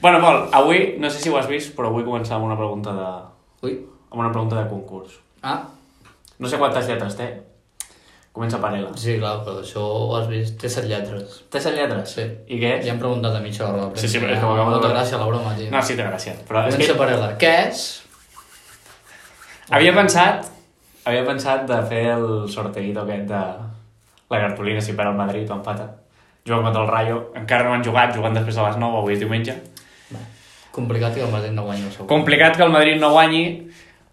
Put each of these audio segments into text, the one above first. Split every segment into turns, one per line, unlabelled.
Bueno, Pol, avui, no sé si ho has vist, però vull començar amb una pregunta de...
Ui.
amb una pregunta de concurs.
Ah,
No sé quantes lletres té. Comença per L.
sí, clar, però això ho has vist. Té set lletres.
Té set lletres?
Sí.
I què és?
Ja hem preguntat a mitja hora.
Sí, sí, però és que m'acabo de
de...
veure.
gràcia la broma, tio.
No, sí, té gràcia. Però és
Comença
que
per L. Què és?
havia pensat... Havia pensat de fer el sorteït aquest de la cartolina si per al Madrid o empata. Juguen contra el Rayo. Encara no han jugat, jugant després de les 9, avui és diumenge.
Complicat que el Madrid no guanyi el segon.
Complicat que el Madrid no guanyi,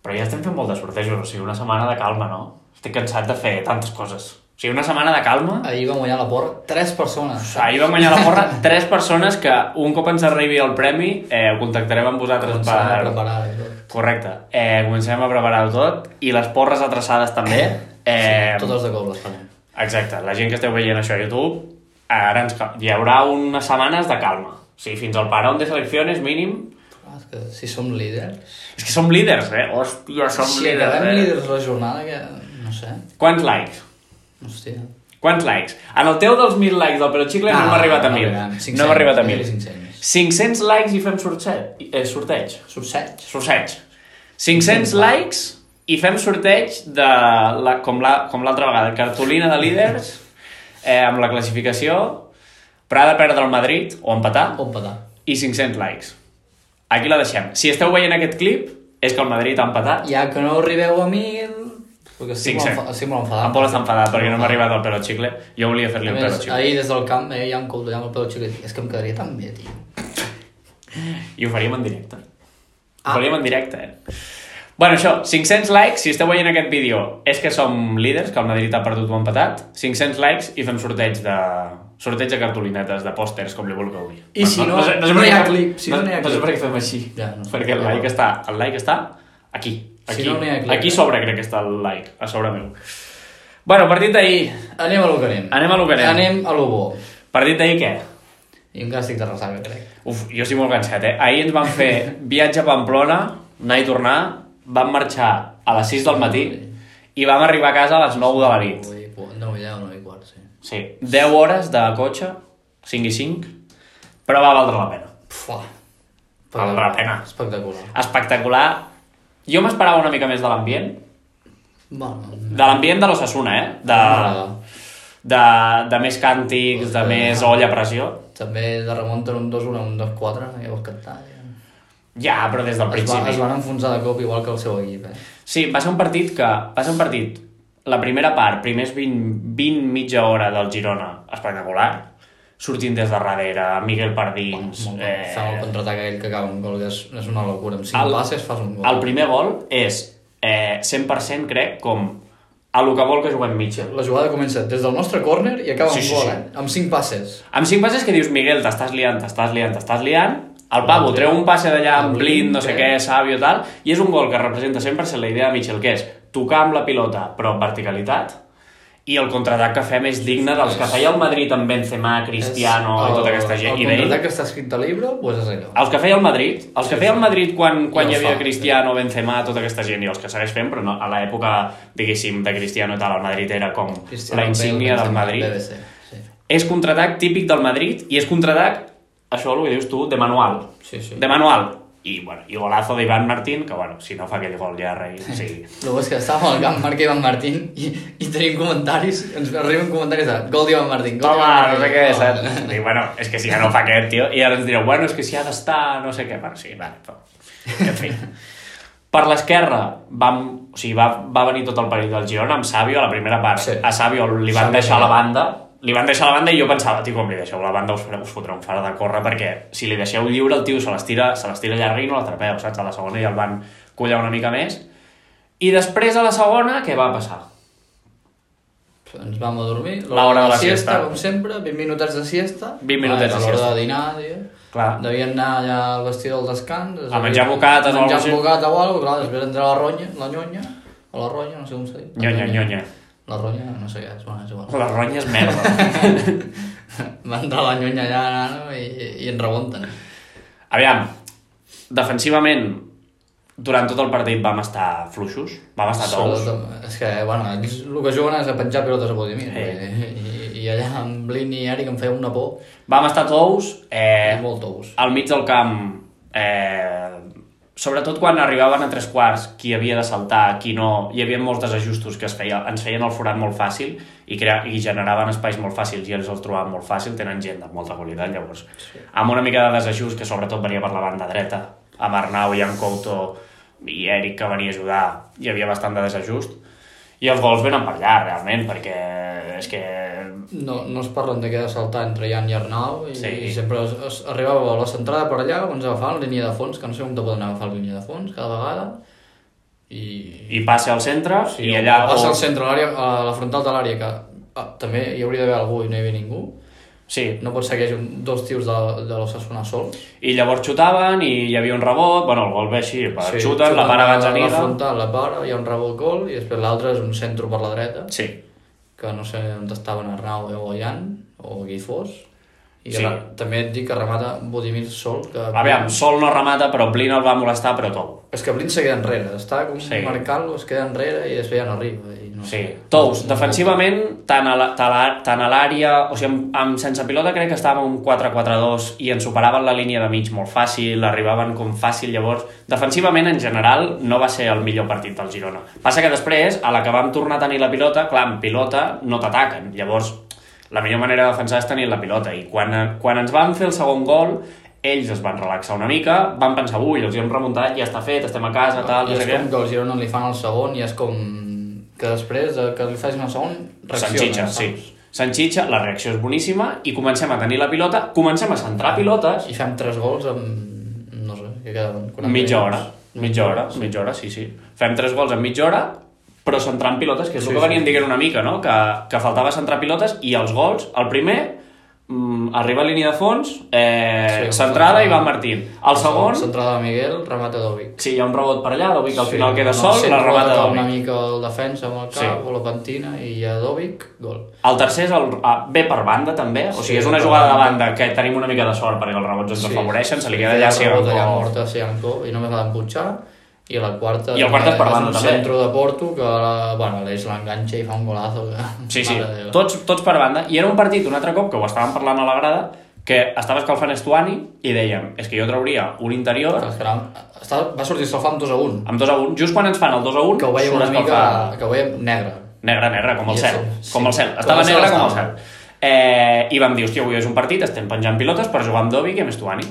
però ja estem fent molt de sortejos, o sigui, una setmana de calma, no? Estic cansat de fer tantes coses. O sigui, una setmana de calma...
Ahir va guanyar la porra tres persones.
Ahir vam guanyar la porra tres persones que un cop ens arribi el premi eh, ho contactarem amb vosaltres
Començar a
per...
preparar i tot.
Correcte. Eh, comencem a preparar-ho tot i les porres atrasades també. Eh,
Totes de cop les farem.
Exacte, la gent que esteu veient això a YouTube, ara ens cal... hi haurà unes setmanes de calma. O sigui, fins al parón de selecciones mínim.
Ah, és que si som líders...
És que som líders, eh? Hòstia, som
si
líders,
acabem
eh?
líders la jornada, que... No sé.
Quants likes?
Hòstia. Ah,
Quants likes? En el teu dels 1.000 likes del Peroxicle Ah, no, no hem arribat a 1.000. No hem arribat a 1.000.
500.
500 likes i fem sorteig. Eh, sorteig.
Sorseig.
Sorteig. 500
Mm.
likes i fem sorteig de la, com la- com l'altra la, vegada, cartolina de líders eh, amb la classificació, però ha de perdre el Madrid o empatar,
O empatar.
i 500 likes. Aquí la deixem. Si esteu veient aquest clip, és que el Madrid ha empatat.
Ja que no arribeu a 1.000... Perquè estic, molt,
500.
enfa- estic molt
En
enfadat.
Pol està enfadat perquè no m'ha arribat el pelo xicle. Jo volia fer-li
A
el
més,
pelo xicle.
ahir des del camp eh, ja em coltejava el pèl xiquet. És que em quedaria tan bé, tio.
I ho faríem en directe. Ah.
Ah.
Ho faríem en directe, eh? Bueno, això, 500 likes, si esteu veient aquest vídeo, és que som líders, que el Madrid ha perdut o ha empatat. 500 likes i fem sorteig de sorteig de cartolinetes, de pòsters, com li vulgueu dir.
I si no,
per
no hi ha
què-
clip, si no, no hi ha
no sé
clip.
per què fem així.
Ja, no sé.
perquè el
Ja.
like està, el like està aquí. aquí
Si no, no hi ha clip. eh?
Aquí a sobre crec que està el like, a sobre meu. Bueno, partit d'ahir.
Anem a lo que anem.
Anem a lo que anem.
Anem a lo bo.
Partit d'ahir què?
I encara estic de ressaca, crec.
Uf, jo estic molt cansat, eh? Ahir ens van fer viatge a Pamplona, anar i tornar, vam marxar a les 6 del matí i vam arribar a casa a les 9 de la nit.
Avui, po- no, ja no hi quart, sí.
Sí, 10 hores de cotxe, 5 i 5, però va valdre la pena.
Fua.
Valdrà la pena.
Espectacular.
Espectacular. Jo m'esperava una mica més de l'ambient,
Bueno,
de l'ambient de l'Ossassuna, eh? De,
Ah.
de, de més càntics, de més olla a pressió.
també de remunten un 2-1 a un 2-4, ja vols cantar. Ja.
Ja, però des del
Es, va, es
principi.
van enfonsar de cop igual que el seu equip, eh?
Sí, va ser un partit que... Va ser un partit... La primera part, primers 20, 20 mitja hora del Girona, espectacular. Sortint des de darrere, Miguel per dins...
Molt bé. Fa el
Eh,
contraatac aquell que acaba un gol, que és, és una locura. Amb 5
El-
passes fas un gol.
el primer gol és eh, 100%, crec, com a lo que vol que juguem Mitchell.
La jugada comença des del nostre córner i acaba
Sí,
amb
sí,
gol,
sí.
eh? Amb 5 passes.
Amb cinc passes que dius, Miguel, t'estàs liant, t'estàs liant, t'estàs liant, el Pavo treu un passe d'allà amb blind, no sé
eh.
què, sàvio, tal, i és un gol que representa 100% la idea de Mitchell, que és tocar amb la pilota, però amb verticalitat, i el contraatac que fem és digne dels que feia el Madrid amb Benzema, Cristiano
És
i tota aquesta gent,
El
i Bale.
contraatac que està escrit a llibre, doncs és allò.
Els que feia el Madrid, els que feia el Madrid quan, quan
I
hi
el
havia
fa,
Cristiano, Benzema, tota aquesta gent, i els que segueix fent, però no, a l'època, diguéssim, de Cristiano i tal, el Madrid era com
Cristiano
la insígnia
Bale,
del Madrid.
BBC, sí.
És contraatac típic del Madrid i és contraatac, això el que dius tu, de manual.
Sí, sí.
De manual. I, bueno, i golazo d'Ivan Martín, que bueno, si no fa aquell gol ja rei, sí.
Lo bo és que estàvem al camp Marc i Ivan Martín i, i tenim comentaris, ens arriben comentaris de gol d'Ivan Martín, gol
Home,
d'Ivan
no sé
Martín,
què, eh?
gol.
saps? I bueno, és que si ja no fa aquest, tio, i ara ens direu, bueno, és que si ha d'estar, no sé què, bueno, sí, vale, però... En fi. Per l'esquerra, vam, o sigui, va, va venir tot el perill del Girona amb Sabio a la primera part.
Sí.
A Sabio li van
Savio
deixar
no.
la banda, li van deixar la banda i jo pensava, tio, com li deixeu la banda us, fareu- us fotrà un far de córrer perquè si li deixeu lliure el tio se l'estira se l'estira llarga i no l'atrapeu, saps? A la segona ja el van collar una mica més. I després a la segona, què va passar?
Ens Doncs vam a dormir,
L'hora de la siesta.
com sempre, 20 minutets de siesta.
20 minutets de
Clar, a l'hora
siesta.
de dinar, tio.
Clar.
Devien anar allà al vestidor del descans.
A menjar bocates o
o
alguna cosa
alguna
així.
Menjar bocata o alguna cosa, clar, després entra la ronya, la nyonya, o la ronya, no sé com s'ha dit.
Nyonya, nyonya.
La ronya, no sé què, és bona, és bona.
La ronya és merda.
Va entrar la nyonya allà, nano, i, i en rebonten.
Aviam, defensivament, durant tot el partit vam estar fluixos, vam estar tous.
Sobretot, és que, bueno, ells el que juguen és a penjar pilotes a Bodimir.
Eh.
Eh. I, i, allà amb Blin i Eric em feia una por.
Vam estar tous, eh,
Eh. Molt tous.
al mig del camp, eh, sobretot quan arribaven a tres quarts, qui havia de saltar, qui no, hi havia molts desajustos que es feia, ens feien el forat molt fàcil i, crea, i generaven espais molt fàcils i ells els trobaven molt fàcil, tenen gent de molta qualitat, llavors. Sí. Amb una mica de desajust que sobretot venia per la banda dreta, amb Arnau i amb Couto i Eric que venia a ajudar, hi havia bastant de desajust. I els gols venen per allà, realment, perquè és que...
No, no es parlen de què de saltar entre Jan i Arnau i,
Sí.
sí. i sempre es, es, arribava a la centrada per allà, ens agafaven línia de fons, que no sé on te poden agafar línia de fons cada vegada i...
I passa al centre, sí, i allà...
Passa
o-
al centre, a l'àrea, a la frontal de l'àrea, que ah, també hi hauria d'haver algú i no hi havia ningú.
Sí,
No pot ser que hi hagi un- dos tios de, de l'Ossassona sols.
I llavors xutaven i hi havia un rebot, bueno, el gol ve així, per sí, xuten, la
xuten
para
La
Gazzaniga...
frontal, la para, hi ha un rebot gol i després l'altre és un centro per la dreta,
Sí,
que no sé on estaven Arnau o Jan o qui fos. I
Sí.
sí. també et dic que remata Budimir Sol, que...
aviam, Sol no remata, però Blin el va molestar, però tou.
És que Blin se queda enrere, està com
Sí.
sí. marcant-lo, es queda enrere i després ja no arriba. I no
Sí,
sé.
tous, defensivament, tant a la- tant a tant a l'àrea, o sigui, amb, amb, sense pilota crec que estàvem un 4-4-2 i ens superaven la línia de mig molt fàcil, arribaven com fàcil, llavors, defensivament, en general, no va ser el millor partit del Girona. Passa que després, a la que vam tornar a tenir la pilota, clar, amb pilota no t'ataquen, llavors, la millor manera de defensar és tenir la pilota, i quan, quan ens van fer el segon gol, ells es van relaxar una mica, van pensar, ui, els hi hem remuntat, ja està fet, estem a casa, tal,
Ah, I
no
és
sé què.
com que el Girona li fan el segon i és com que després de que li facin el segon, reacciona.
Sanxitxa,
saps?
sí. Sanxitxa, la reacció és boníssima i comencem a tenir la pilota, comencem a centrar pilotes
I fem tres gols en... no sé, que quedaven... 40
mitja hora,
minuts.
mitja hora, mitja hora, sí, sí. Fem tres gols en mitja hora, però centrant pilotes, que és el
Sí,
que
sí.
veníem dient una mica, no? Que, que faltava centrar pilotes i els gols, el primer, mm, arriba a línia de fons, eh,
Sí,
centrada
centrada.
i va Martín. El segon,
Centrada de Miguel, remata Dovic.
sí, hi ha un rebot per allà, Dovic al
Sí,
final queda
no,
sol,
sí,
la remata
rebota
Dovic.
Una mica el defensa amb el cap
Sí.
o la pentina i a Dovic, gol.
El tercer és el, ah, ve per banda, també. O sigui,
Sí,
és una
per
jugada de
banda.
banda que tenim una mica de sort perquè els rebots ens
Sí.
afavoreixen, se li queda allà si
Queda rebota allà
Arancó-
morta a Sianco i només l'ha d'emputxar i la quarta
I el quart és per banda,
un
també.
centro de Porto que la, bueno, l'Eix l'enganxa i fa un golazo que...
Sí, sí,
Mare de Déu.
tots, tots per banda. I era un partit, un altre cop, que ho estàvem parlant a la grada, que estava escalfant Estuani i dèiem, és que jo trauria un interior
Que era- Està, va sortir Southampton 2 a 1
amb 2 a 1, just quan ens fan el 2 a 1,
que ho veiem
surt
una mica
escalfant.
que ho veiem negre
Negre, negre, com el
I
cel.
sí,
Com el cel.
com
Estava
el cel
negre com el
estava.
cel. Eh, I vam dir, hòstia, avui és un partit, estem penjant pilotes per jugar amb Dovi i amb Estuani.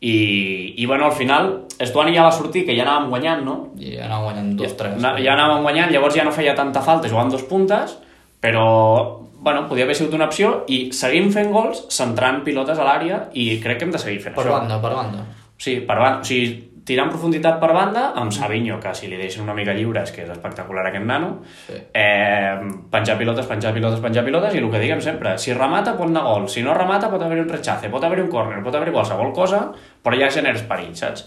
I, i bueno, al final, Estuani ja va sortir, que ja anàvem guanyant, no?
i anava guanyant 2-3
Na- ja anàvem guanyant, llavors ja no feia tanta falta jugar amb dos puntes, però bueno, podia haver sigut una opció i seguim fent gols, centrant pilotes a l'àrea i crec que hem de seguir fent
per
això.
banda, per banda
Sí, per banda. O sigui, tirant profunditat per banda, amb Savinho, que si li deixen una mica lliure és que és espectacular aquest nano,
Sí.
eh, penjar pilotes, penjar pilotes, penjar pilotes, i el que diguem sempre, si remata pot anar gol, si no remata pot haver-hi un rechace, pot haver-hi un córner, pot haver-hi qualsevol cosa, però ja generes perill, saps?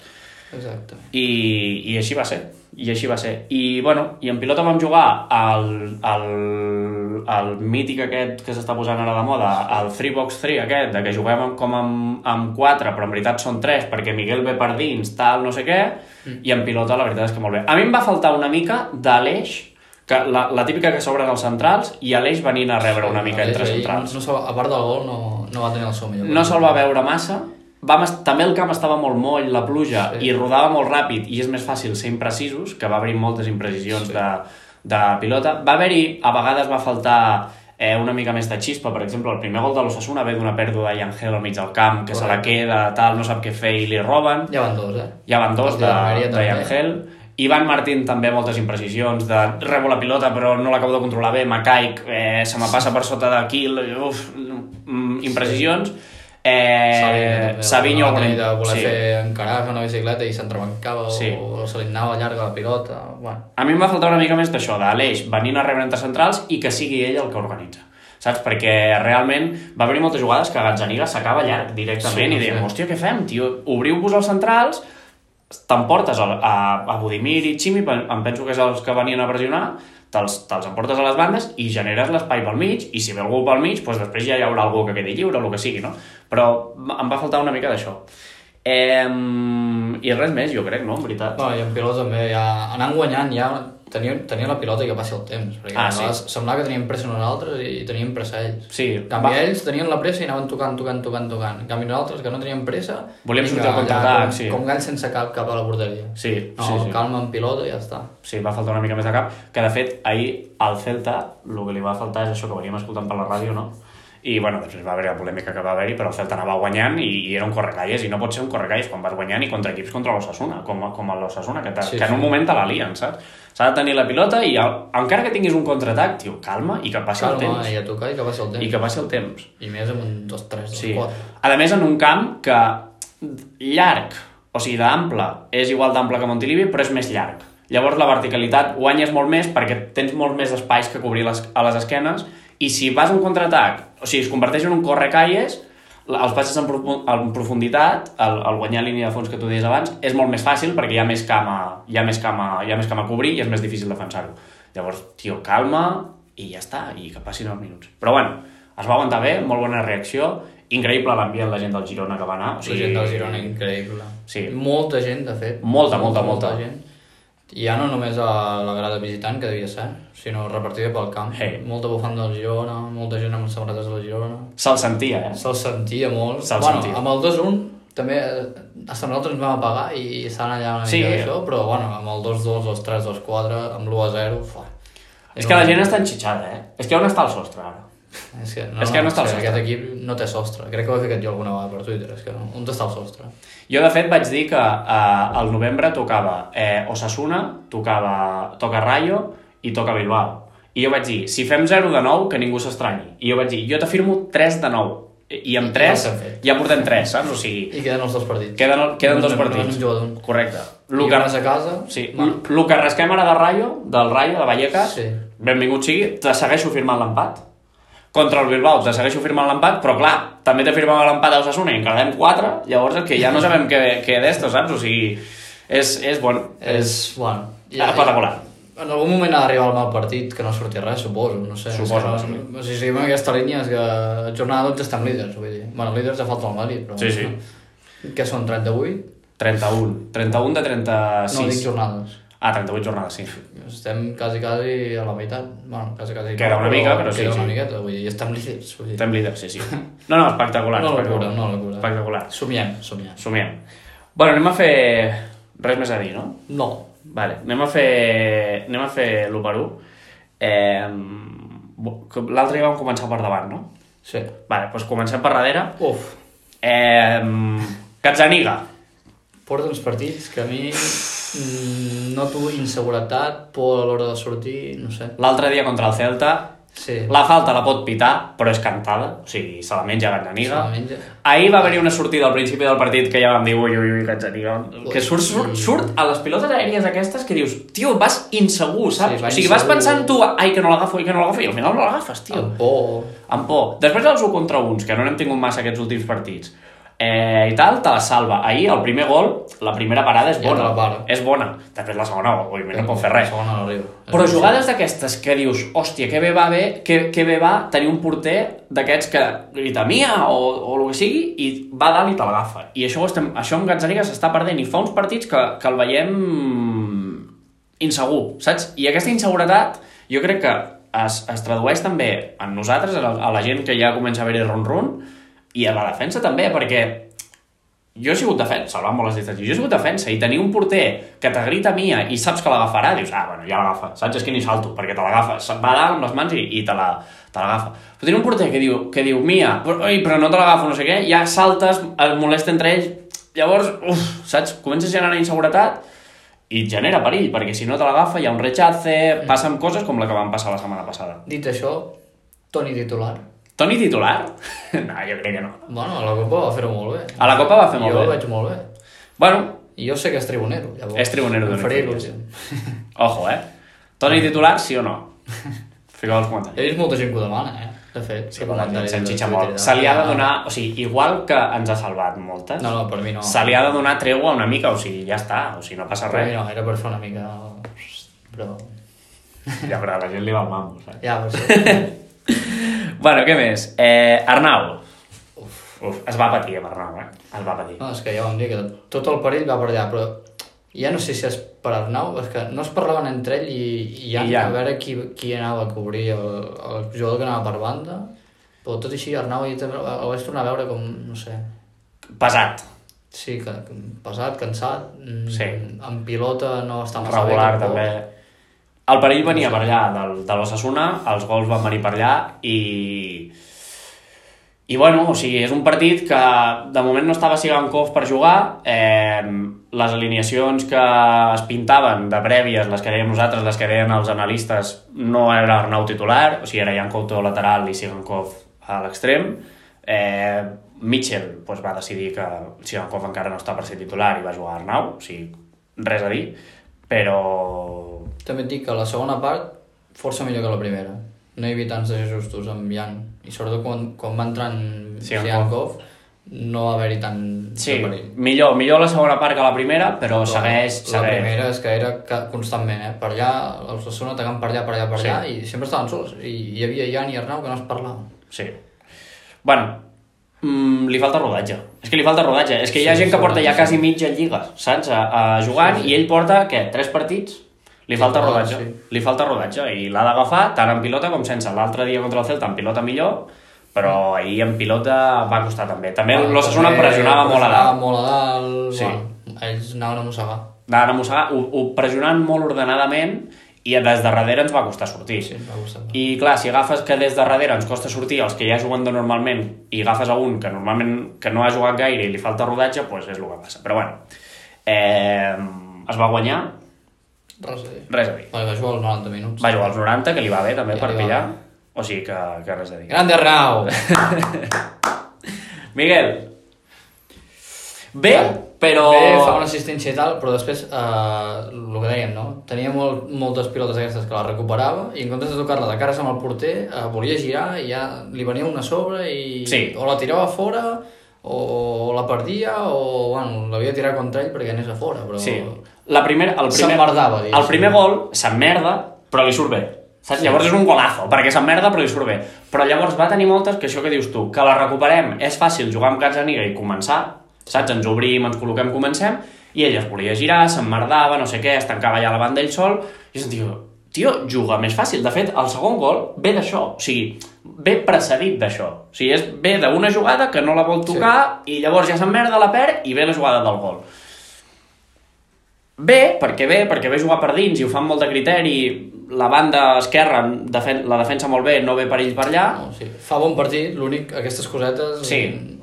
exacte
I, i així va ser i així va ser i, bueno, i en pilota vam jugar al, al, al mític aquest que s'està posant ara de moda al 3 box 3 aquest de que juguem amb, com amb, amb 4 però en veritat són 3 perquè Miguel ve per dins tal no sé què mm. i en pilota la veritat és que molt bé a mi em va faltar una mica de l'eix que la, la típica que s'obren els centrals i a l'eix venint a rebre una mica
Aleix
entre
ahir,
centrals
no, se va- a part del gol no, no va tenir el seu millor
no se'l va veure massa Vam est... també el camp estava molt moll, la pluja sí.
Sí.
i rodava molt ràpid i és més fàcil ser imprecisos, que va haver-hi moltes imprecisions sí. de, de pilota va haver-hi, a vegades va faltar eh, una mica més de xispa, per exemple el primer gol de l'Ossassuna ve d'una pèrdua de Yangel al mig del camp, que se la
Correcte.
queda tal, no sap què fer i li roben
ja van dos, eh
ja van dos
El
de,
de
de,
Almeria
de
també.
Yangel Ivan Martín també moltes imprecisions de rebo la pilota però no l'acabo de controlar bé, me caic, eh, se me passa per sota d'aquí, l- uf, mm, imprecisions. Eh, Savinho,
Savinho
alguna-
de voler
sí.
sí. fer encarar fer una bicicleta i s'entrebancava
Sí.
sí. o, o se li anava llarga la pilota bueno.
A mi em va faltar una mica més d'això, d'Aleix venint a rebre entre centrals i que sigui ell el que organitza. Saps? Perquè realment va haver-hi moltes jugades que Gazzaniga s'acaba llarg directament sí,
Sí,
i
sí.
diem, hòstia, què fem, tio? Obriu-vos els centrals, t'emportes a, a, a Budimir i Ximi, pe- em penso que és els que venien a pressionar, te'ls te emportes a les bandes i generes l'espai pel mig, i si ve algú pel mig, doncs després ja hi haurà algú que quedi lliure, el que sigui, no? Però em va faltar una mica d'això. Eh, I res més, jo crec, no? En veritat.
bueno, i en pilot també ja anant guanyant ja tenia, tenia la pilota i que passi el temps, perquè
Ah,
ah, sí. semblava que teníem pressa nosaltres i teníem pressa ells.
Sí,
En canvi, ells tenien la pressa i anaven tocant, tocant, tocant, tocant. En canvi, nosaltres, que no teníem pressa...
Volíem
vinga,
sortir al contraatac,
allà, com,
sí.
Com galls sense cap cap a la borderia.
Sí,
no,
sí, sí.
calma en pilota i ja està.
sí, va faltar una mica més de cap, que de fet ahir al Celta el que li va faltar és això que veníem escoltant per la ràdio, no? I bueno, després va haver la polèmica que va haver-hi, però el Celta anava guanyant i, i era un correcalles, i no pot ser un correcalles quan vas guanyant i contra equips contra l'Ossassuna, com, com l'Ossassuna, que, sí,
Sí,
que en
sí.
un moment te la lien, saps? S'ha de tenir la pilota i el, encara que tinguis un contraatac, tio, calma i que passi el
Calma, eh.
temps.
i a tocar i que passi el temps.
I que passi el temps.
I més amb un 2, 3, 2,
Sí.
4.
Doncs A més, en un camp que llarg, o sigui, d'ample, és igual d'ample que Montilivi, però és més llarg. Llavors, la verticalitat guanyes molt més perquè tens molt més espais que cobrir les, a les esquenes i si vas a un contraatac, o sigui, es converteix en un correcalles, la- els passes en, profu- en profunditat, el, el guanyar línia de fons que tu deies abans, és molt més fàcil perquè hi ha més camp a, hi ha més camp a, hi ha més camp a cobrir i és més difícil defensar-ho. Llavors, tio, calma i ja està, i que passin els minuts. Però bueno, es va aguantar bé, molt bona reacció, increïble l'ambient, la gent del Girona que va anar. O
La gent del Girona, eh? increïble.
Sí.
Molta gent, de fet.
Molta, molta, molta.
gent. I ja no només a la grada visitant, que devia ser, sinó repartida pel camp.
Hey.
Molta bufanda del Girona, molta gent amb samarretes del Girona.
Se'l sentia, eh?
Se'ls sentia molt.
Se'ls
bueno,
sentia.
amb el 2-1 també eh, hasta nosaltres ens vam apagar i estan allà una
Sí.
mica d'això, però bueno, amb el 2-2, els 3, els 4, amb l'1-0, fa.
És que la gent està enxitxada, eh? És que on està el sostre, ara?
És que no,
és que no està el
és
sostre.
Aquest equip no té sostre. Crec que ho he ficat jo alguna vegada per Twitter. És que no. On està el sostre?
Jo, de fet, vaig dir que eh, al novembre tocava eh, Osasuna, tocava, toca Rayo i toca Bilbao. I jo vaig dir, si fem 0 de 9, que ningú s'estranyi. I jo vaig dir, jo t'afirmo 3 de 9. I i amb
I
3
no s'ha fet. Doncs
ja portem 3, saps? O sigui,
I queden els dos partits.
queden, queden
Només
dos
en- només
partits.
en juga d'un.
Correcte.
Lo
Lo
que
que,
vas a casa...
sí,
va.
lo que rasquem ara de Rayo, del Rayo, de Vallecas,
Sí.
benvingut sigui, te segueixo firmant l'empat. Contra el Bilbao te segueixo firmant l'empat, però clar, també te firmava l'empat a Osasuna i en quedem 4, llavors és que ja no sabem què, què d'esto, saps? O sigui, és, és bueno, és...
És, bueno...
Espectacular.
En algun moment ha d'arribar el mal partit, que no surti res, suposo, no sé.
Suposo,
És que no- O sigui, seguim en aquesta línia, és que a jornada 12 estem líders, vull dir. Bueno, líders ja falta el Madrid, però...
Sí, sí.
No. Que són 38?
31. 31 de
No, dic
36.
jornades.
ah, 38 jornades, sí.
Estem quasi, quasi a la meitat. Bueno, quasi, quasi...
Queda una mica, però sí,
Queda una
sí.
miqueta, vull dir, i estem líders, vull dir.
Estem líders, sí, sí. No, no, espectacular.
Una locura,
espectacular.
una locura.
Espectacular.
Somiem, somiem.
Somiem. Bueno, anem a fer... Res més a dir, no?
No,
Vale, anem a fer, anem a fer l'1 per 1. Eh, bo- que L'altre ja vam començar per davant, no?
sí.
Vale, doncs comencem per darrere.
Uf,
Eh, Gazzaniga.
porta uns partits que a mi mm, noto inseguretat, por a l'hora de sortir, no sé.
L'altre dia contra el Celta.
Sí,
La falta la pot pitar, però és cantada. O sigui, se la menja Gazzaniga.
Se la menja.
Ahir va haver-hi una sortida al principi del partit que ja vam dir, ui, ui, ui, Gazzaniga. Que surt, surt, surt a les pilotes aèries aquestes que dius, tio, vas insegur, saps?
Sí, va
o sigui, vas
insegur.
pensant tu, ai, que no l'agafo, ai, que no l'agafo, i al final no l'agafes, tio.
amb por.
amb por. Després dels 1 contra 1, que no n'hem tingut massa aquests últims partits, eh, i tal, te la salva. Ahir, el primer gol, la primera parada és
Ja te
bona.
la para.
és bona. Després la segona, òbviament, no pot fer res.
La segona no arriba.
Però jugades d'aquestes que dius, hòstia, que bé va bé, que, que bé va tenir un porter d'aquests que grita mia o, o el que sigui i va dalt i te l'agafa. I això, ho estem, això amb Gazzaniga s'està perdent i fa uns partits que, que el veiem insegur, saps? I aquesta inseguretat jo crec que es, es tradueix també en nosaltres, a la, a la gent que ja comença a haver-hi ron-ron i a la defensa també, perquè jo he sigut defensa, salvant molt les distàncies, jo he sigut defensa i tenir un porter que t'agrita mia i saps que l'agafarà, dius, ah, bueno, ja l'agafa, saps? És que ni salto, perquè te l'agafa, se'n va dalt amb les mans i, i te la- te l'agafa. Però tenir un porter que diu, que diu mia, però, ai, però no te l'agafo, no sé què, ja saltes, et molesta entre ells, llavors, uf, saps? Comences a generar inseguretat i et genera perill, perquè si no te l'agafa hi ha un rechace, passen coses com la que van passar la setmana passada.
Dit això, Toni titular.
Toni titular? no, jo crec que no.
Bueno, a la Copa va fer-ho molt bé.
A la Copa va fer molt
jo
bé.
Jo vaig molt bé.
Bueno,
I jo sé que és tribunero, llavors.
És tribunero,
Em
Toni
faria
Titular,
il·lusió.
Ojo, eh? Toni titular, sí o no? Fica els comentaris.
He vist molta gent que ho demana, eh? De fet,
Sí,
de
però la gent
comentaris de
s'enxitxa
Twitter i
molt.
tal.
Se li ha de donar... O sigui, igual que ens ha salvat moltes,
No, no, per mi no.
se li ha de donar tregua una mica, o sigui, ja està, o sigui, no passa
Per mi
res.
no, era per fer una mica... Però...
Ja, però a la gent li va el mambo, saps?
Ja, per això.
Bueno, què més? Eh, Arnau. Uf. Uf, es va patir amb Arnau, eh? Es va patir.
Ah, No, és que ja vam dir que tot el perill va per allà, però ja no sé si és per Arnau, és que no es parlaven entre ell i, i Jan,
I Jan.
a veure qui, qui anava a cobrir el, el jugador que anava per banda, però tot i així Arnau ja també el vaig tornar a veure com, no sé,
Pesat.
sí, que, que pesat, cansat, mm,
Sí.
en pilota no està massa
Regular,
bé. tampoc.
també. El perill venia per allà, del, de l'Ossassuna, els gols van venir per allà i... I bueno, o sigui, és un partit que de moment no estava Sigankov per jugar, eh, les alineacions que es pintaven de prèvies, les que dèiem nosaltres, les que deien els analistes, no era Arnau titular, o sigui, era Jan Couto lateral i Sigankov a l'extrem. Eh, Mitchell doncs, va decidir que Sigankov encara no està per ser titular i va jugar Arnau, o sigui, res a dir, però
També et dic que la segona part força millor que la primera. No hi havia tants desajustos amb Jan. I sobretot quan, quan va entrar en
Siankov.
Siankov, no va haver-hi tant
Sí,
de perill.
millor, millor la segona part que la primera, però segueix,
La
segueix.
primera és que era ca- constantment, eh? Per allà, els dos són atacant per allà, per allà, per
Sí.
allà, i sempre estaven sols. I hi havia Jan i Arnau que no es parlaven.
Sí. Bueno, mm, li falta rodatge. És que li falta rodatge. És que hi ha
Sí,
gent que porta ja
sí.
quasi mitja lliga, saps? A, a jugant,
Sí, sí.
i ell porta, què, tres partits? Li
Sí,
falta
ah,
rodatge.
sí.
Li falta rodatge. I l'ha d'agafar tant en pilota com sense. L'altre dia contra el Celta en pilota millor, però ahir en pilota va costar també. També
Bueno,
l'Ossassuna
també
pressionava molt a dalt.
Eh, pressionava molt a dalt.
Sí.
Bueno, ells anaven a mossegar.
anaven a mossegar, ho, ho pressionant molt ordenadament i des de darrere ens va costar sortir.
Sí, em va gustar.
I clar, si agafes que des de darrere ens costa sortir els que ja juguen de normalment i agafes a un que normalment que no ha jugat gaire i li falta rodatge, doncs és el que passa. Però bueno, eh, es va guanyar,
Res a dir.
res a dir.
Vale, va jugar els 90 minuts.
Va jugar als 90, que li va bé també
Ja
per
li va
pillar.
bé.
O sigui que, que res a dir.
Grande Arnau!
Miguel, bé, però...
Bé, fa una assistència i tal, però després, eh, el que dèiem, no? Tenia molt, moltes pilotes aquestes que la recuperava i en comptes de tocar-la de cares amb el porter, eh, volia girar i ja li venia una a sobre i
Sí.
o la tirava fora o, o la perdia o, bueno, l'havia de tirar contra ell perquè anés a fora, però...
Sí. La primera, el primer,
S'emmerdava, diguéssim.
El primer gol s'emmerda, però li surt bé. Saps? Llavors és un golazo, perquè s'emmerda però li surt bé. Però llavors va tenir moltes que això que dius tu, que la recuperem, és fàcil jugar amb Gazzaniga i començar, saps? Ens obrim, ens col·loquem, comencem, i ell es volia girar, s'emmerdava, no sé què, es tancava allà a la banda ell sol, i jo diu, tio, juga més fàcil. De fet, el segon gol ve d'això, o sigui, ve precedit d'això. O sigui, és, ve d'una jugada que no la vol tocar, sí. i llavors ja s'emmerda, la perd, i ve la jugada del gol. Bé, perquè bé, perquè bé jugar per dins i ho fan molt de criteri, la banda esquerra defen la defensa molt bé, no ve per ells per allà.
No, sí. Fa bon partit, l'únic, aquestes cosetes...
Sí,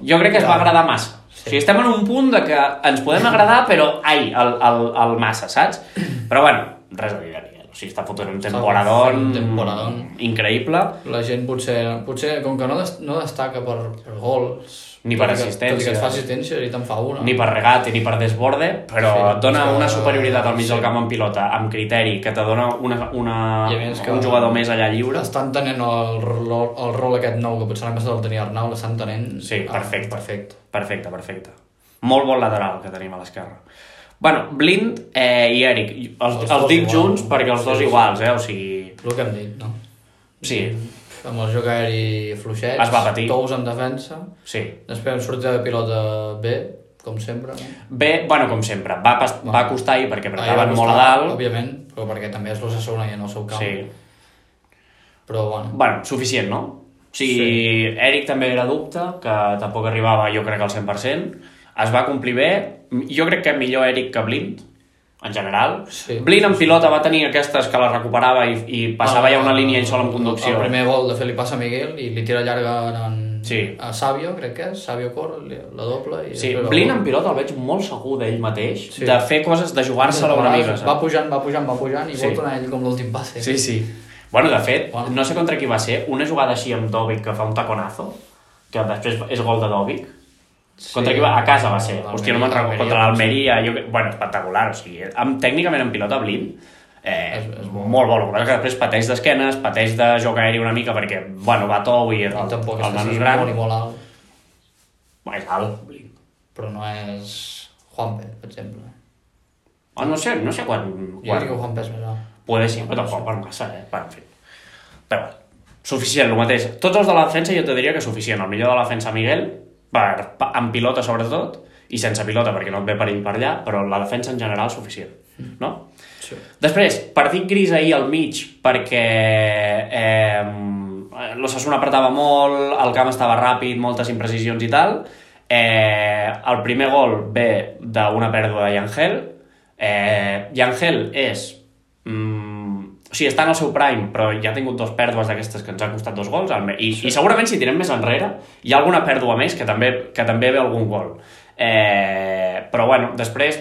jo crec que es va agradar massa. Sí. O sigui, estem en un punt de que ens podem agradar, però ai, el, el, el massa, saps? Però bueno, res a dir de Miguel. O sigui, està fotent un temporadón,
fent un temporadón.
increïble.
La gent potser, potser com que no, des, no destaca per, per gols...
Ni per
tot i que- Tot i que
assistències.
et fa assistències i te'n fa una.
ni per regate ni per desborde, però
Sí,
et dona
és que-
una superioritat al mig
sí.
del camp en pilota, amb criteri, que te dona una, una,
I a més que-
un jugador més allà lliure.
Estan tenent el, rol- el rol aquest nou, que potser l'any passat el tenia Arnau, l'estan tenent...
Sí,
ah,
perfecte.
perfecte.
Perfecte, perfecte. Molt bon lateral que tenim a l'esquerra. bueno, Blind eh, i Eric. Els,
Els
els,
dos
dic
iguals.
junts perquè els dos
Sí, sí.
iguals, eh? O sigui...
El que hem dit, no?
Sí,
Amb el joc aeri fluixet,
Es va patir.
tous en defensa,
sí.
després em sortia de pilota bé, com sempre. no?
Bé, bueno, com sempre, va, pas, va costar ahir perquè
Ahir va
apretaven molt a
costar,
dalt.
Òbviament, però perquè també és l'Ossassona i en el seu camp.
Sí.
Però bueno,
Bueno, suficient, no? O sigui, sí. Eric també era dubte, que tampoc arribava jo crec al 100%. Es va complir bé. Jo crec que millor Eric que Blind, en general.
Sí. Ah,
Blind en pilota va tenir aquestes que les recuperava i, i passava ja una línia ell sol en conducció.
El primer gol, de fet, li passa a Miguel i li tira llarga en,
Sí.
a Sabio, crec que és, Sabio Cor, li- la doble. I
Sí,
després el
Blin
gol.
en pilot el veig molt segur d'ell mateix,
Sí.
sí. de fer coses, de jugar-se-la una mica,
Va
saps?
pujant, va pujant, va pujant i
Sí.
vol tornar ell com l'últim passe.
Sí, sí. Bueno, de fet,
Bueno.
no sé contra qui va ser, una jugada així amb Dovic que fa un taconazo, que després és gol de Dovic. Contra qui va? A casa va ser. Hòstia, no me'n recordo. Contra l'Almeria. Jo... que- Bueno, espectacular. O sigui, amb, tècnicament en pilota Blin, eh,
És-
és,
és
és molt bo. El que passa que després pateix d'esquenes, pateix de joc aeri una mica perquè, bueno, va tou i el,
El,
el
tampoc és que
nano és
sigui
gran.
molt i molt alt,
Bueno, és alt, Blin.
però no és Juanpe, per exemple.
Oh, no sé, no sé quan...
Jo
quan...
crec que Juanpe és més alt.
Puede ser, però tampoc per massa, eh? Però, en fi. Però, bueno, suficient, el mateix. Tots els de la defensa jo te diria que suficient. El millor de la defensa, Miguel, per, pa- amb pilota sobretot, i sense pilota perquè no et ve perill per allà, però la defensa en general és suficient, no?
Sí.
Després, partit gris ahir al mig perquè eh, l'Ossassuna apretava molt, el camp estava ràpid, moltes imprecisions i tal. Eh, el primer gol ve d'una pèrdua de Yangel. Eh, Yangel és... Mm, o sigui, està en el seu prime, però ja ha tingut dos pèrdues d'aquestes que ens ha costat dos gols. alme- I, sí. i segurament si tirem més enrere hi ha alguna pèrdua més que també, que també ve algun gol. Eh, però bueno, després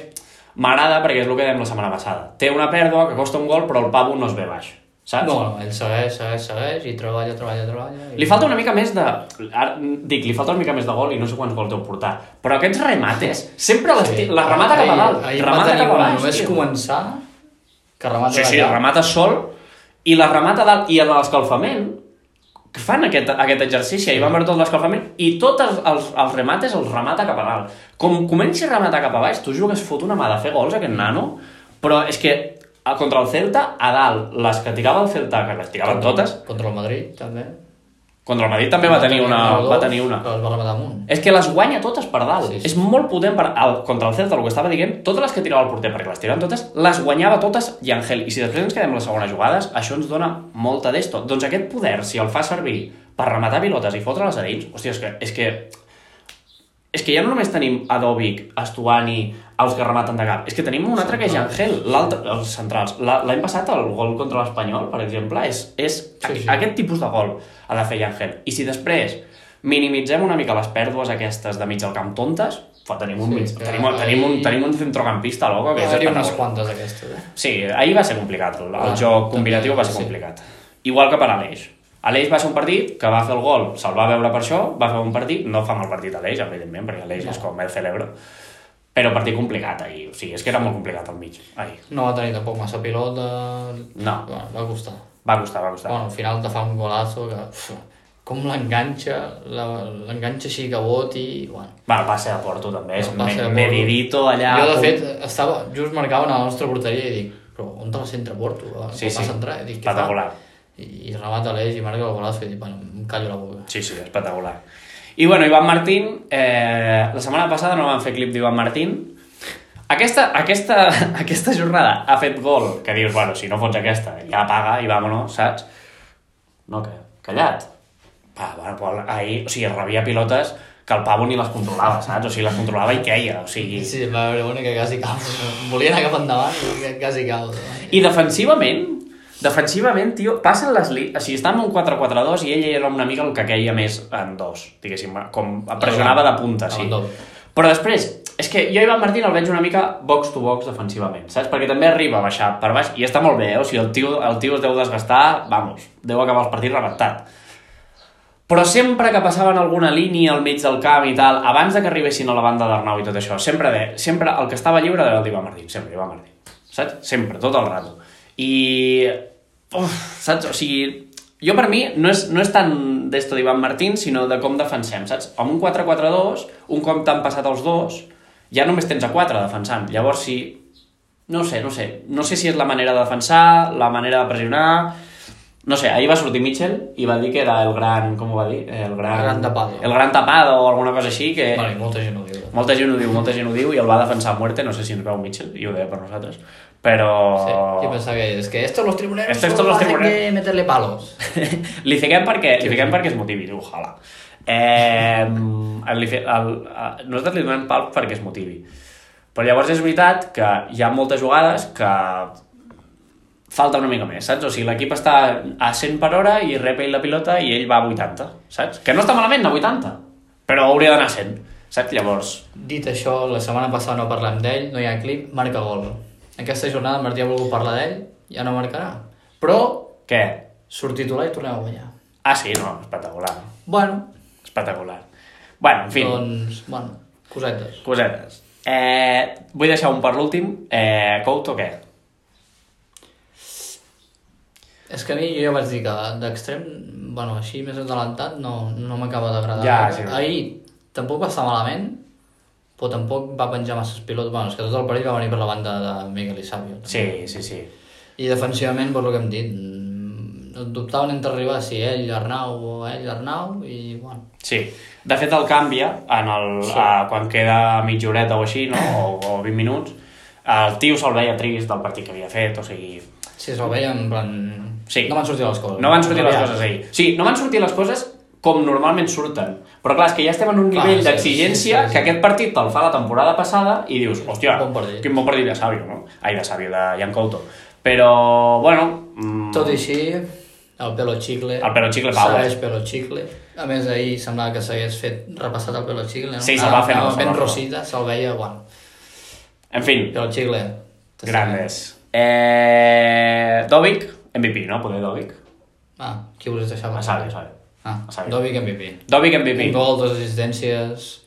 m'agrada perquè és el que dèiem la setmana passada. Té una pèrdua que costa un gol, però el Pavo no es ve baix. Saps?
No, no, ell segueix, segueix, segueix i treballa, treballa, treballa. I...
Li falta una mica més de... Ara, dic, li falta una mica més de gol i no sé quants gols deu portar. Però aquests remates, sempre les, sí. la remata cap a dalt.
Ahir, ahir va
remata
tenir
cap a
una,
baix.
només
tio.
començar que remata
Sí, sí,
d'allà.
la remata sol i la remata dalt i a l'escalfament que fan aquest, aquest exercici, ahir van veure tot l'escalfament i tots els, els, els remates els remata cap a dalt. Com comenci a rematar cap a baix, tu jugues fot una mà de fer gols aquest nano, però és que a- contra el Celta, a dalt, les que tirava el Celta, que les tiraven totes,
Contra el Madrid, també.
contra el Madrid també va tenir una... Va tenir una.
Però es va rematar amunt.
És que les guanya totes per dalt.
Sí,
Sí,
sí.
sí. És molt potent per, el, contra el Celta, el que estava dient, totes les que tirava el porter, perquè les tiraven totes, les guanyava totes i Angel. I si després ens quedem amb les segones jugades, això ens dona molta d'esto. Doncs aquest poder, si el fa servir per rematar pilotes i fotre-les a dins, hòstia, és que, és que és que ja no només tenim Adobic, Estuani, els que rematen de cap, és que tenim un altre que és Angel, l'altre, els centrals. La- L'any passat el gol contra l'Espanyol, per exemple, és, és sí,
sí.
sí. aquest tipus de gol ha de fer Angel. I si després minimitzem una mica les pèrdues aquestes de mig del camp tontes, fa, tenim un,
Sí,
sí, mig, tenim,
que
tenim, un,
ahir-
tenim un centrocampista, loco, que
Va
és
haver-hi unes
espectacular.
quantes aquestes, eh?
Sí, ahir va ser complicat, el, el
Ah,
joc combinatiu
també,
va ser
sí.
complicat. Igual que per Aleix. Aleix va ser un partit que va fer el gol, se'l va veure per això, va fer un partit, no fa mal partit Aleix, evidentment, perquè Aleix és com el celebro, però partit complicat ahir, o sigui, és que era molt complicat al mig, ahir.
No va tenir tampoc massa pilota...
No,
Bueno, va costar.
va costar, va costar.
Bueno, al final te fa un golazo que... Uf, com l'enganxa, la- l'enganxa així que boti... Bueno.
Va, el passe de Porto també, és
El passe de
me-
Porto.
medidito allà...
jo, de
pum.
fet, estava, just marcaven a la nostra porteria i dic, però on te la centra Porto? Va,
Sí,
va
sí.
centrar, i dic, què fa?
Espectacular.
I, i remata l'eix i marca el golazo i dic, bueno, em callo la boca.
Sí, sí, espectacular. I bueno, Ivan Martín, eh, la setmana passada no van fer clip d'Ivan Martín. Aquesta, aquesta, aquesta jornada ha fet gol, que dius, bueno, si no fots aquesta, ja paga i vámonos, saps? No, que, callat. Va, va, va, ahir, o sigui, rebia pilotes que el pavo ni les controlava, saps? O sigui, les controlava i queia, o sigui...
Sí, va veure una que quasi cau. Volia anar cap endavant i que quasi cau.
I defensivament, defensivament, tio, passen les línies... O sigui, estàvem en un 4-4-2 i ell era una mica el que queia més en dos, diguéssim, com pressionava de punta, sí.
En dos.
Però després, és que jo a Ivan Martín el veig una mica box to box defensivament, saps? Perquè també arriba a baixar per baix i està molt bé, eh? o sigui, el tio, el tio es deu desgastar, vamos, deu acabar el partit rebentat. Però sempre que passaven alguna línia al mig del camp i tal, abans de que arribessin a la banda d'Arnau i tot això, sempre, de, sempre el que estava lliure era el d'Ivan Martín, sempre Ivan Martín. Saps? Sempre, tot el rato. I... Uf, saps? O sigui, jo per mi no és, no és tant d'esto d'Ivan Martín, sinó de com defensem, saps? Amb un 4-4-2, un cop t'han passat els dos, ja només tens a 4 defensant. Llavors, si... No ho sé, no ho sé. No sé si és la manera de defensar, la manera de pressionar... No sé, ahir va sortir Mitchell i va dir que era el gran... Com ho va dir? El gran...
El gran tapado.
El gran tapado o alguna cosa així que...
Bueno, i molta gent ho diu.
Molta gent ho diu, molta gent ho diu i el va defensar a muerte, no sé si ens veu Mitchell, i ho deia per nosaltres, però...
Sí,
Oh.
jo pensava que és que estos los tribuneros
Estos
solo
los
hacen
tribuneros.
que meterle palos.
li fiquem perquè, li fiquem perquè es motivi, diu, ojalà. Eh, li fe, el, el, nosaltres li donem pal perquè es motivi. Però llavors és veritat que hi ha moltes jugades que falta una mica més, saps? O sigui, l'equip està a 100 per hora i rep ell la pilota i ell va a 80, saps? Que no està malament, a 80, però hauria d'anar a 100, saps? Llavors,
Dit això, la setmana passada no parlem d'ell, no hi ha clip, marca gol. Aquesta jornada en Martí ha volgut parlar d'ell, ja no marcarà. Però
què?
surt titular i tornem a guanyar.
Ah, sí, no, espectacular,
Bueno,
espectacular. Bueno, en fi.
doncs, bueno, cosetes.
Cosetes. Eh, vull deixar un per l'últim. Eh, Couto, què?
És que a mi jo ja vaig dir que d'extrem, bueno, així més adelantat no, no m'acaba d'agradar.
Ja, sí.
Ahir tampoc va estar malament, però tampoc va penjar masses pilots. Bueno, és que tot el partit va venir per la banda de Miguel i Sabio.
Sí, sí, sí.
I defensivament, per el que hem dit, mm, dubtaven entre arribar si ell, Arnau o ell, Arnau, i bueno,
Sí. De fet, el canvia en el, sí. a, quan queda mitja horeta o així, no? o, o 20 minuts. El tio se'l veia trist del partit que havia fet, o sigui...
si se'l veia en plan...
Sí.
No van sortir les coses.
No van sortir les
Aviat.
coses ahir. Sí, no van sortir les coses com normalment surten. Però clar, és que ja estem en un
Clar,
nivell
sí,
d'exigència
sí, sí, sí.
que aquest partit te'l fa la temporada passada i dius, hòstia,
Bon partit."
quin bon partit de Sàvio, no? Ai, de Sàvio, de Jan Couto. Però, bueno, mm,
Tot i així, el pelo xicle...
El pelo chicle, Pau.
Segueix pelo xicle. A més, ahir semblava que s'hagués fet repassat el pelo xicle, no?
Sí, se'l va fer, no,
Anava
se'l
ben
va fer.
rossita, se'l veia, bueno,
en fi,
pelo xicle. t'està
grandes. Eh, Dovic, MVP, no? Poder Dovic.
bé. Ah, qui volies deixar?
A Sàvio, a Sàvio.
Ah,
A Sàvio.
Dovic MVP.
Dovic MVP.
Un gol, dues assistències...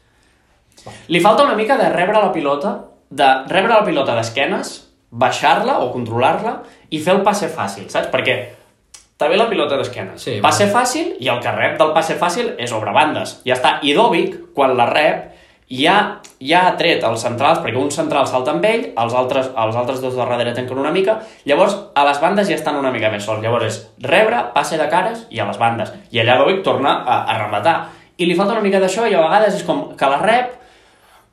Li falta una mica de rebre la pilota, de rebre la pilota d'esquenes, baixar-la o controlar-la i fer el passe fàcil, saps? Perquè també la pilota d'esquenes.
Sí,
passe fàcil i el que rep del passe fàcil és obre bandes. Ja està. I Dovic, quan la rep, ja, ja ha tret els centrals, perquè un central salta amb ell, els altres, els altres dos de darrere tanquen una mica, llavors a les bandes ja estan una mica més sols. Llavors és rebre, passe de cares i a les bandes. I allà Dovic torna a, a rematar. I li falta una mica d'això i a vegades és com que la rep,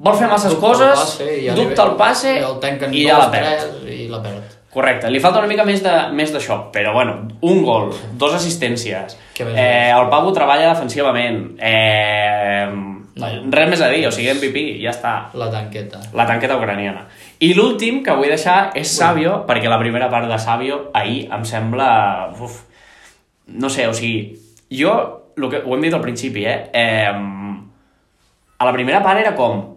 vol fer masses
Dubta el
coses,
passe i ja li ve-
dubta el passe
i el tanquen
i
dos,
ja la perd.
tres, I la perd.
Correcte, li falta una mica més de- més d'això, però bueno, un gol, dos assistències,
Què més
eh, el Pau treballa defensivament, eh,
Vaja.
res més a dir, o sigui, MVP, ja està,
La tanqueta.
la tanqueta ucraniana. I l'últim que vull deixar és Savio, perquè la primera part de Savio ahir em sembla... Uf, no sé, o sigui, jo, lo que, ho hem dit al principi, eh? eh a la primera part era com,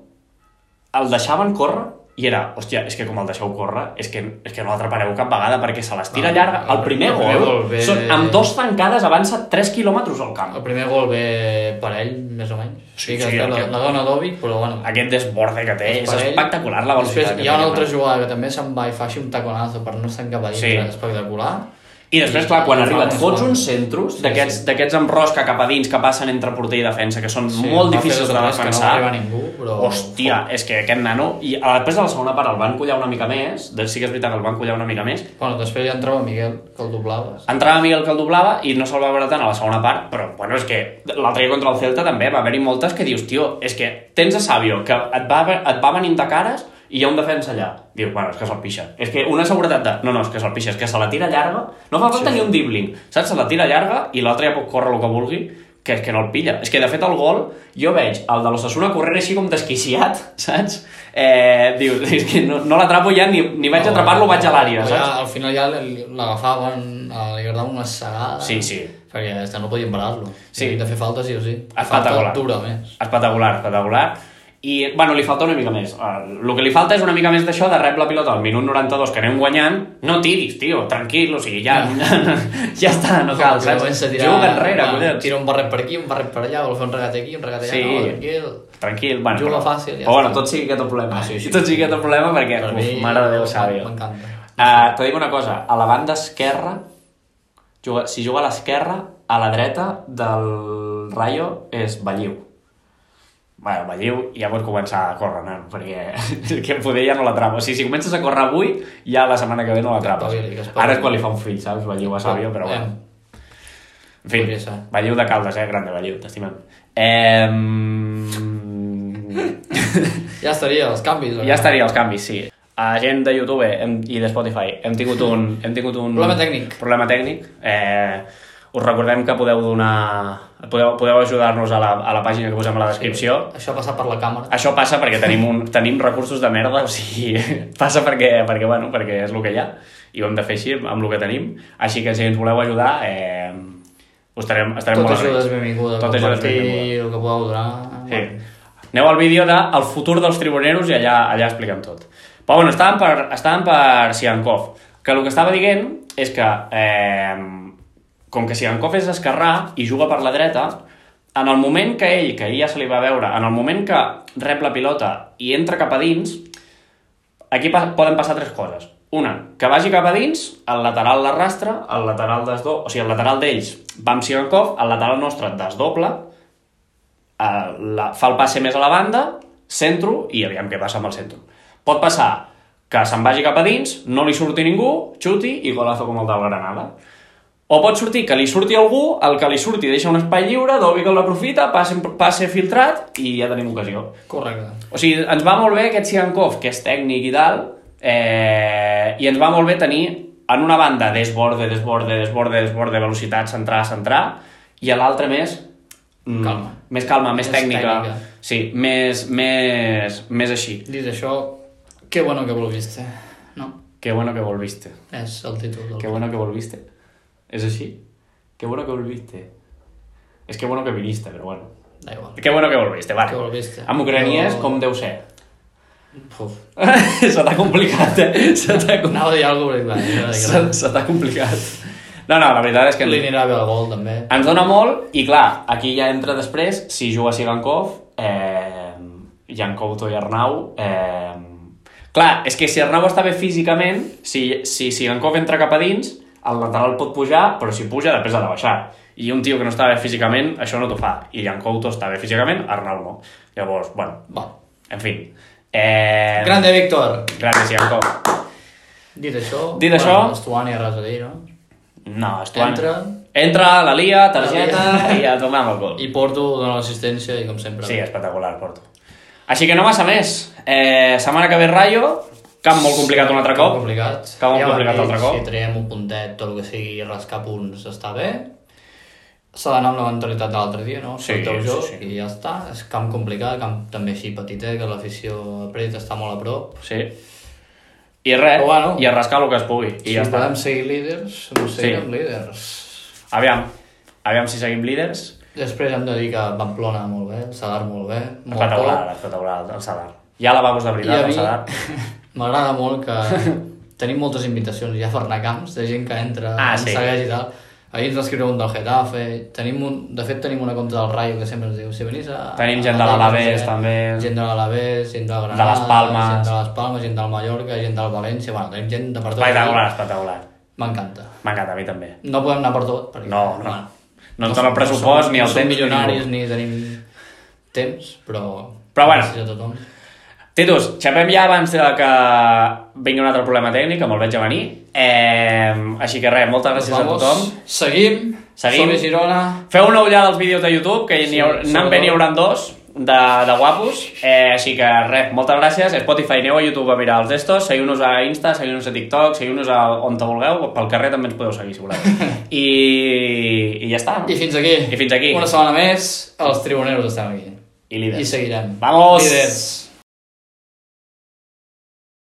el deixaven córrer i era, hòstia, és que com el deixeu córrer, és que, és que no l'atrapareu cap vegada perquè se les tira
Ah,
llarga. El
el
primer
primer
gol,
gol ve-
són, amb dos tancades avança 3 quilòmetres al camp.
El primer gol ve per ell, més o menys. O sigui
Sí, sí,
que la,
aquest-
la dona Dovic, però bueno.
Aquest desborde que té, és,
Doncs per ell.
espectacular la velocitat.
Després
que
hi ha
té
una
aquest
altra jugada que també se'n va i fa així un taconazo per no estar cap a dintre,
Sí.
sí. espectacular.
I després, clar, quan
I
arriba
fa
et
un
fots
gol.
uns centros
Sí,
d'aquests d'aquests amb rosca cap a dins que passen entre porter i defensa, que són molt
va fer
difícils
dos
de
tres que No va
defensar.
arribar ningú, però...
Hòstia, és que aquest nano... I a- després de la segona part el van collar una mica més, doncs sí que és veritat que el van collar una mica més,
Bueno, després ja entrava Miguel, que el doblaves.
Entrava Miguel que el doblava i no se'l va veure tant a la segona part, però bueno, és que l'altre dia contra el Celta també va haver-hi moltes que dius, tio, és que tens a Sabio que et va, et va venint de cares i hi ha un defensa allà. Dius, bueno, és que se'l pixa. És que una seguretat de... No, no, és que se'l pixa, és que se la tira llarga. No fa falta ni un dribbling, saps? Se la tira llarga i l'altre ja pot córrer el que vulgui, que és que no el pilla. És que, de fet, el gol, jo veig el de l'Ossassuna corrent així com desquiciat, saps? Eh, dius, és que no, no l'atrapo ja, ni, ni vaig
No,
atrapar-lo, vaig a l'àrea,
ja,
saps?
Al final ja l- l'agafaven, eh, li agradava una segada.
Sí, sí.
Perquè és que no podien parar-lo.
Sí. Ah,
Havien De fer falta, sí o sí.
Espectacular.
Falta dura més.
Espectacular, espectacular. I, bueno, li falta una mica més. Eh, El que li falta és una mica més d'això de rep la pilota al minut 92 que anem guanyant. No tiris, tio, tranquil, o sigui, ja... ja està, no cal,
Però
saps?
comença a tirar-
Juga enrere,
va,
collons.
Tira un barret per aquí, un barret per allà, vol fer un regat aquí, un regat allà,
Sí.
no, tranquil.
Tranquil, bueno.
Juga
però-
fàcil, ja
però bueno,
està.
tot sigui aquest el problema.
Ah, sí, sí.
Tot sigui aquest el problema perquè,
Per
uf,
mi,
mare de Déu, sàvio.
M'encanta.
Uh, te dic una cosa, a la banda esquerra, juga, si juga a l'esquerra, a la dreta del Rayo és Balliu. Bueno, Balliu ja pots començar a córrer, nen, perquè és que poder ja no l'atrapa. O sigui, si comences a córrer avui, ja la setmana que ve no
espavili, que
l'atrapes.
espavili.
Ara és quan li fa un fill, saps? Balliu a Sàvio, però bueno. En fi,
podria ser.
Balliu de Caldes, eh? Grande, Balliu, t'estimem. Eh...
Ja estaria, els canvis. eh?
Ja estaria els canvis, sí. A gent de YouTube hem, i de Spotify hem tingut un... Hem tingut un
Problema tècnic.
Problema tècnic. Eh, us recordem que podeu donar... Podeu, podeu ajudar-nos a, la, a la pàgina que posem a la descripció.
Això ha passat per la càmera.
Això passa perquè tenim, un, tenim recursos de merda, o sigui, passa perquè, perquè, bueno, perquè és el que hi ha i ho hem de fer així, amb el que tenim. Així que si ens voleu ajudar, eh, us estarem, estarem Ah,
Tot
molt
ajuda és
agraïts.
benvinguda.
Tot ajuda és
compartir
benvinguda.
El que podeu donar.
Sí. Aneu al vídeo de El futur dels tribuneros i allà, allà expliquem tot. Però bueno, estàvem per, estàvem per Siankov, que el que estava dient és que eh, com que Siankov és esquerrà i juga per la dreta, en el moment que ell, que ahir ja se li va veure, en el moment que rep la pilota i entra cap a dins, aquí pa poden passar tres coses. Una, que vagi cap a dins, el lateral l'arrastra, el lateral desdobla, o sigui, el lateral d'ells va amb Sigankov, el lateral nostre desdobla, eh, la, fa el passe més a la banda, centro, i aviam què passa amb el centro. Pot passar que se'n vagi cap a dins, no li surti ningú, xuti i golazo com el del Granada. O pot sortir que li surti algú, el que li surti deixa un espai lliure, Dobi que l'aprofita, passe, passe filtrat i ja tenim ocasió.
Correcte.
O sigui, ens va molt bé aquest Siankov, que és tècnic i tal, eh, i ens va molt bé tenir en una banda desborde, desborde, desborde, desborde, velocitat, centrar, centrar, i a l'altra més... mm,
Calma.
Més calma, més,
Més
tècnica.
tècnica.
Sí, més, més, més així.
Dit això, que bueno que volviste. No,
Que bueno que volviste.
és el títol del...
Que bueno que volviste. És així? Que bueno que volviste. És que bueno que viniste, però bueno.
Da igual.
Que bueno que volviste, vale.
Que volviste.
En ucraniès,
Jo-
com deu ser?
Puf.
Se t'ha complicat, eh? Se t'ha com...
Anava a dir alguna cosa,
se,
però...
se t'ha complicat. No, no, la veritat és que
Li
ens,
anirà bé el gol, també.
ens dona molt i clar, aquí ja entra després, si juga Sigankov, eh, Jankouto i Arnau... Eh, clar, és que si Arnau està bé físicament, si, si Sigankov entra cap a dins, el lateral pot pujar, però si puja després ha de baixar. I un tio que no està bé físicament, això no t'ho fa. I Jankouto està bé físicament, Arnau no. Llavors, bueno,
Va.
en fi. Eh,
Grande, Víctor!
Grande Sigankov.
Dit això...
Dit
bueno,
això-
Estuani, res a dir, no?
No, Estuani.
Entra.
Entra, la lia, targeta
La
i a tomar amb el gol.
I Porto dona l'assistència i com sempre.
Sí, espectacular, Porto. Així que no massa més. Eh, setmana que ve Rayo, camp molt complicat un altre
Molt
cop.
Complicat.
Que molt
ho hem
complicat
dit,
altre cop.
Si traiem un puntet, tot el que sigui rascar punts està bé. S'ha d'anar amb la mentalitat de l'altre dia, no?
Sí,
Surt el
sí,
joc
sí.
i ja està. És camp complicat, camp també així petit, eh? que l'afició apreta, està molt a prop.
Sí. I res,
Però bueno.
i a rascar el que es pugui. I
I si
ja està.
podem seguir líders, no seguirem
Sí.
sí. líders.
Aviam, aviam si seguim líders.
Després hem de dir que Pamplona molt bé, Sadar molt bé, molt
Espectacular, espectacular, el Sadar. Ja la vamos de
I a
veritat, el
mi
Sadar.
m'agrada molt que tenim moltes invitacions ja a Farnacamps, de gent que entra,
Ah,
ens
sí.
segueix i tal. Ahir ens va escriure un del Getafe, tenim un, de fet tenim una compte del Rayo que sempre ens diu si venís a...
Tenim
a-
gent de
a-
l'Alavés, també.
Gent de l'Alavés, gent del Granada,
les Palmes.
gent de les Palmes, gent del Mallorca, gent del València, bueno, tenim gent de per tot.
Espectacular, espectacular.
M'encanta.
M'encanta, a mi també.
No podem anar per tot, perquè...
No, no.
bueno,
No ens dona el
som-
pressupost,
som-
ni el
No som
temps, ni
milionaris,
ningú.
ni tenim temps, però...
Però bueno.
gràcies a tothom.
Titus, xapem ja abans de que vingui un altre problema tècnic, que me'l veig a venir. Eh, així que res, moltes gràcies
Doncs Vamos.
a tothom.
Seguim.
Seguim.
Som a Girona.
Feu una ullada als vídeos de YouTube, que n'hi haurà,
Sí,
n'han ben hi
sobretot.
haurà dos de, de guapos. Eh, així que res, moltes gràcies. Spotify, aneu a YouTube a mirar els estos, seguiu-nos a Insta, seguiu-nos a TikTok, seguiu-nos a on te vulgueu, pel carrer també ens podeu seguir, si voleu. I, i ja està.
I fins aquí.
I fins aquí.
Una setmana més, els tribuneros estem aquí.
I líders.
I seguirem.
Vamos!
Líders.